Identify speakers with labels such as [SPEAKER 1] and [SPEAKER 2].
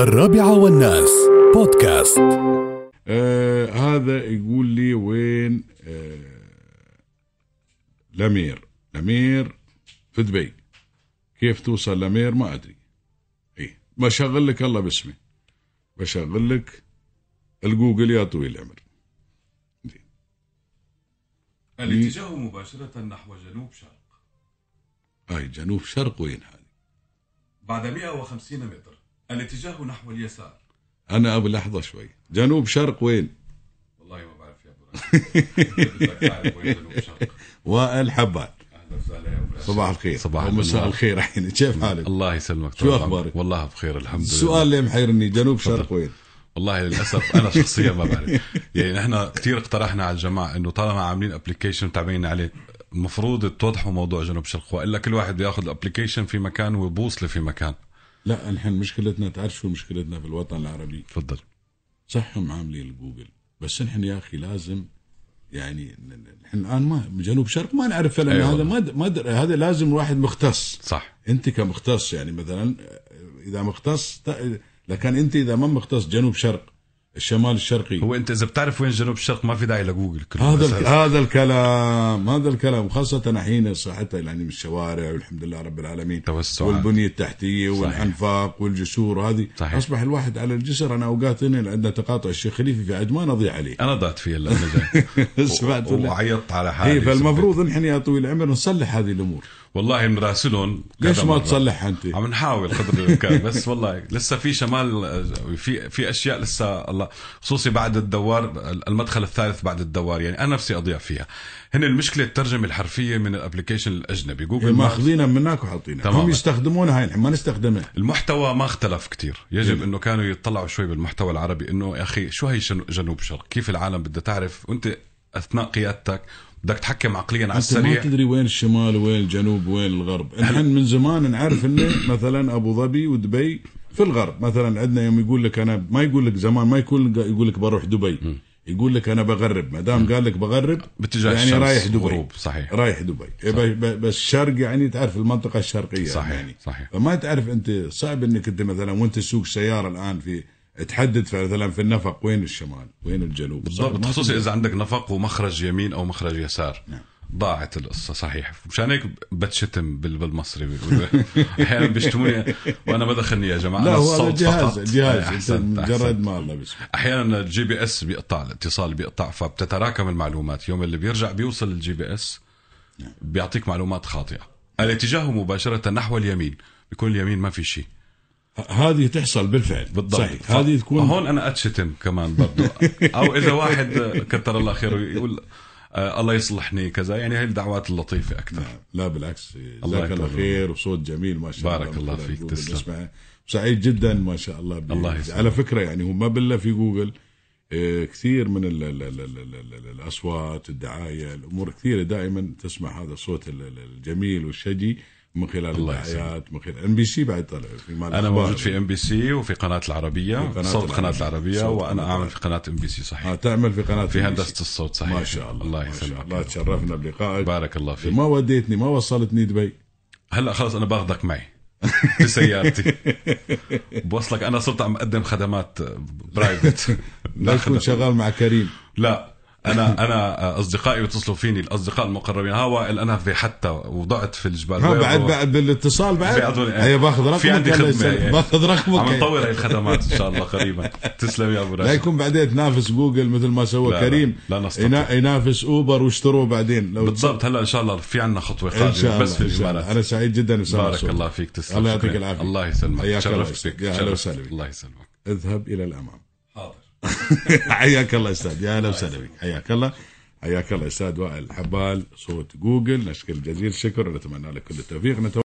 [SPEAKER 1] الرابعة والناس بودكاست
[SPEAKER 2] آه هذا يقول لي وين آه لمير لمير في دبي كيف توصل لمير ما ادري اي بشغل لك الله باسمي بشغل لك الجوجل يا طويل العمر
[SPEAKER 3] الاتجاه مباشرة نحو جنوب شرق
[SPEAKER 2] هاي جنوب شرق وين هذه
[SPEAKER 3] بعد 150 متر الاتجاه نحو اليسار
[SPEAKER 2] انا ابو لحظه شوي جنوب شرق وين
[SPEAKER 3] والله ما بعرف يا ابو راشد
[SPEAKER 2] وائل حبان
[SPEAKER 3] اهلا وسهلا يا ابو راشد
[SPEAKER 2] صباح الخير
[SPEAKER 4] صباح
[SPEAKER 2] أو مساء
[SPEAKER 4] النور.
[SPEAKER 2] الخير عيني كيف حالك
[SPEAKER 4] الله يسلمك
[SPEAKER 2] شو
[SPEAKER 4] طال
[SPEAKER 2] أخبارك؟
[SPEAKER 4] عمرك. والله بخير الحمد لله
[SPEAKER 2] السؤال اللي محيرني جنوب شرق وين
[SPEAKER 4] والله للاسف انا شخصيا ما بعرف يعني نحن كثير اقترحنا على الجماعه انه طالما عاملين ابلكيشن متابعين عليه المفروض توضحوا موضوع جنوب شرق والا كل واحد بياخذ الابلكيشن في مكان وبوصله في مكان
[SPEAKER 2] لا نحن مشكلتنا تعرف شو مشكلتنا في الوطن العربي
[SPEAKER 4] تفضل
[SPEAKER 2] صح هم عاملين الجوجل بس نحن يا اخي لازم يعني نحن الان ما جنوب شرق ما نعرف فعلا
[SPEAKER 4] أيوة.
[SPEAKER 2] هذا ما د- ما در- هذا لازم واحد مختص
[SPEAKER 4] صح
[SPEAKER 2] انت كمختص يعني مثلا اذا مختص ت- لكن انت اذا ما مختص جنوب شرق الشمال الشرقي
[SPEAKER 4] هو انت اذا بتعرف وين جنوب شرق ما في داعي لجوجل كله
[SPEAKER 2] هذا
[SPEAKER 4] بالأساس.
[SPEAKER 2] ال- هذا الكلام هذا الكلام خاصة الحين صحتها يعني من الشوارع والحمد لله رب العالمين
[SPEAKER 4] توسعات.
[SPEAKER 2] والبنية التحتية والأنفاق والجسور هذه
[SPEAKER 4] صحيح.
[SPEAKER 2] أصبح الواحد على الجسر أنا أوقات هنا عندنا تقاطع الشيخ خليفي في عجمان أضيع عليه
[SPEAKER 4] انا ضعت فيه هلا أنا جاي.
[SPEAKER 2] سمعت ولا؟
[SPEAKER 4] وعيطت على حالي
[SPEAKER 2] هي فالمفروض نحن يا طويل العمر نصلح هذه الأمور
[SPEAKER 4] والله مراسلهم
[SPEAKER 2] ليش
[SPEAKER 4] كذا
[SPEAKER 2] ما
[SPEAKER 4] مرة.
[SPEAKER 2] تصلحها أنت؟
[SPEAKER 4] عم نحاول قدر الامكان بس والله لسه في شمال في في اشياء لسه الله خصوصي بعد الدوار المدخل الثالث بعد الدوار يعني انا نفسي اضيع فيها هن المشكله الترجمه الحرفيه من الابلكيشن الاجنبي
[SPEAKER 2] إيه،
[SPEAKER 4] جوجل ماخذ
[SPEAKER 2] ماخذينها منك وحاطينها
[SPEAKER 4] تماماً.
[SPEAKER 2] هم يستخدمونها هاي نحن ما نستخدمها
[SPEAKER 4] المحتوى ما اختلف كتير
[SPEAKER 2] إيه.
[SPEAKER 4] يجب انه كانوا يطلعوا شوي بالمحتوى العربي انه يا اخي شو هي شنو- جنوب شرق كيف العالم بدها تعرف وانت اثناء قيادتك بدك تحكم عقليا
[SPEAKER 2] أنت
[SPEAKER 4] على
[SPEAKER 2] ما
[SPEAKER 4] السريع
[SPEAKER 2] تدري وين الشمال وين الجنوب وين الغرب نحن من زمان نعرف إنه مثلا أبو ظبي ودبي في الغرب مثلا عندنا يوم يقول لك أنا ما يقول لك زمان ما يكون يقول لك بروح دبي يقول لك أنا بغرب ما دام قال لك بغرب
[SPEAKER 4] باتجاه
[SPEAKER 2] يعني
[SPEAKER 4] الشمس
[SPEAKER 2] رايح دبي
[SPEAKER 4] غروب، صحيح.
[SPEAKER 2] رايح دبي ب- ب- بس شرق يعني تعرف المنطقة الشرقية
[SPEAKER 4] صحيح،
[SPEAKER 2] يعني.
[SPEAKER 4] صحيح.
[SPEAKER 2] فما تعرف أنت صعب إنك أنت مثلا وأنت تسوق سيارة الآن في تحدد مثلا في النفق وين الشمال وين الجنوب صعب،
[SPEAKER 4] بالضبط
[SPEAKER 2] ما
[SPEAKER 4] خصوصي اذا عندك نفق ومخرج يمين او مخرج يسار
[SPEAKER 2] نعم.
[SPEAKER 4] ضاعت القصة صحيح مشان هيك بتشتم بال- بالمصري بيقولوا. احيانا بيشتموني وانا ما دخلني يا جماعه
[SPEAKER 2] لا
[SPEAKER 4] أنا
[SPEAKER 2] هو هذا
[SPEAKER 4] الصوت
[SPEAKER 2] الجهاز
[SPEAKER 4] فقط.
[SPEAKER 2] الجهاز
[SPEAKER 4] أي،
[SPEAKER 2] انت
[SPEAKER 4] أحسنت، أحسنت.
[SPEAKER 2] مجرد ما الله بسمه
[SPEAKER 4] احيانا الجي بي اس بيقطع الاتصال بيقطع فبتتراكم المعلومات يوم اللي بيرجع بيوصل الجي بي اس
[SPEAKER 2] نعم.
[SPEAKER 4] بيعطيك معلومات خاطئه الاتجاه مباشره نحو اليمين بيكون اليمين ما في شيء
[SPEAKER 2] هذه تحصل بالفعل
[SPEAKER 4] بالضبط
[SPEAKER 2] صحيح هذه تكون
[SPEAKER 4] هون انا اتشتم كمان برضو او اذا واحد كتر الله خيره يقول آه، الله يصلحني كذا يعني هي الدعوات اللطيفه اكثر
[SPEAKER 2] لا بالعكس جزاك الله
[SPEAKER 4] يكرمك.
[SPEAKER 2] خير وصوت جميل ما شاء
[SPEAKER 4] بارك
[SPEAKER 2] الله
[SPEAKER 4] الله
[SPEAKER 2] مثلاً
[SPEAKER 4] فيك،
[SPEAKER 2] جوجل
[SPEAKER 4] تسلم.
[SPEAKER 2] نسمعه. سعيد جدا ما شاء الله ب...
[SPEAKER 4] الله يسلمك.
[SPEAKER 2] على فكره يعني هو ما بلا في جوجل آه، كثير من ال ال ال ال ال ال الاصوات الدعايه الامور كثيره دائما تسمع هذا الصوت ال- ال- الجميل والشجي من خلال
[SPEAKER 4] الله
[SPEAKER 2] الدعايات من خلال ام بي سي بعد طلع في مال
[SPEAKER 4] انا
[SPEAKER 2] الأخبار.
[SPEAKER 4] موجود في ام بي سي وفي قناه العربيه
[SPEAKER 2] وقناة
[SPEAKER 4] صوت قناه
[SPEAKER 2] العربية.
[SPEAKER 4] العربيه
[SPEAKER 2] صوت
[SPEAKER 4] وانا
[SPEAKER 2] قناة
[SPEAKER 4] اعمل في قناه ام بي سي صحيح
[SPEAKER 2] آه، تعمل في قناه
[SPEAKER 4] في
[SPEAKER 2] MBC.
[SPEAKER 4] هندسه الصوت صحيح
[SPEAKER 2] ما شاء الله
[SPEAKER 4] الله
[SPEAKER 2] ما شاء
[SPEAKER 4] يسلمك
[SPEAKER 2] الله تشرفنا بلقائك
[SPEAKER 4] بارك الله فيك
[SPEAKER 2] ما وديتني ما وصلتني دبي
[SPEAKER 4] هلا خلص انا باخذك معي بسيارتي بوصلك انا صرت عم اقدم خدمات برايفت
[SPEAKER 2] لا تكون شغال مع كريم
[SPEAKER 4] لا انا انا اصدقائي بيتصلوا فيني الاصدقاء المقربين ها وائل انا في حتى وضعت في الجبال
[SPEAKER 2] ها بعد بعد بالاتصال
[SPEAKER 4] في
[SPEAKER 2] بعد
[SPEAKER 4] عضو-
[SPEAKER 2] هي باخذ رقمك
[SPEAKER 4] في عندي
[SPEAKER 2] الله
[SPEAKER 4] خدمة
[SPEAKER 2] يسلمك.
[SPEAKER 4] يعني.
[SPEAKER 2] باخذ رقمك
[SPEAKER 4] عم
[SPEAKER 2] يعني.
[SPEAKER 4] نطور هاي الخدمات ان شاء الله قريبا تسلم يا ابو
[SPEAKER 2] لا
[SPEAKER 4] راشد
[SPEAKER 2] يكون بعدين تنافس جوجل مثل ما سوى
[SPEAKER 4] لا، لا،
[SPEAKER 2] كريم
[SPEAKER 4] لا نستطيع.
[SPEAKER 2] ينا- ينافس اوبر واشتروه بعدين لو
[SPEAKER 4] بالضبط هلا ان شاء الله في عندنا خطوه
[SPEAKER 2] ان شاء
[SPEAKER 4] قادمه
[SPEAKER 2] الله
[SPEAKER 4] بس في
[SPEAKER 2] إن شاء الله.
[SPEAKER 4] الامارات
[SPEAKER 2] انا سعيد جدا أسامة
[SPEAKER 4] بارك
[SPEAKER 2] صبري.
[SPEAKER 4] الله فيك تسلم
[SPEAKER 2] الله يعطيك
[SPEAKER 4] شكراً.
[SPEAKER 2] العافية.
[SPEAKER 4] الله يسلمك
[SPEAKER 2] حياك الله
[SPEAKER 4] شرفت
[SPEAKER 2] أستاذ.
[SPEAKER 4] بك
[SPEAKER 2] يا هلا
[SPEAKER 4] شرفت.
[SPEAKER 2] وسهلا بك.
[SPEAKER 4] الله يسلمك
[SPEAKER 2] اذهب الى الامام
[SPEAKER 3] حاضر
[SPEAKER 2] حياك الله استاذ يا اهلا وسهلا بك حياك الله حياك الله استاذ وائل حبال صوت جوجل نشكر جزيل الشكر ونتمنى لك كل التوفيق نتو-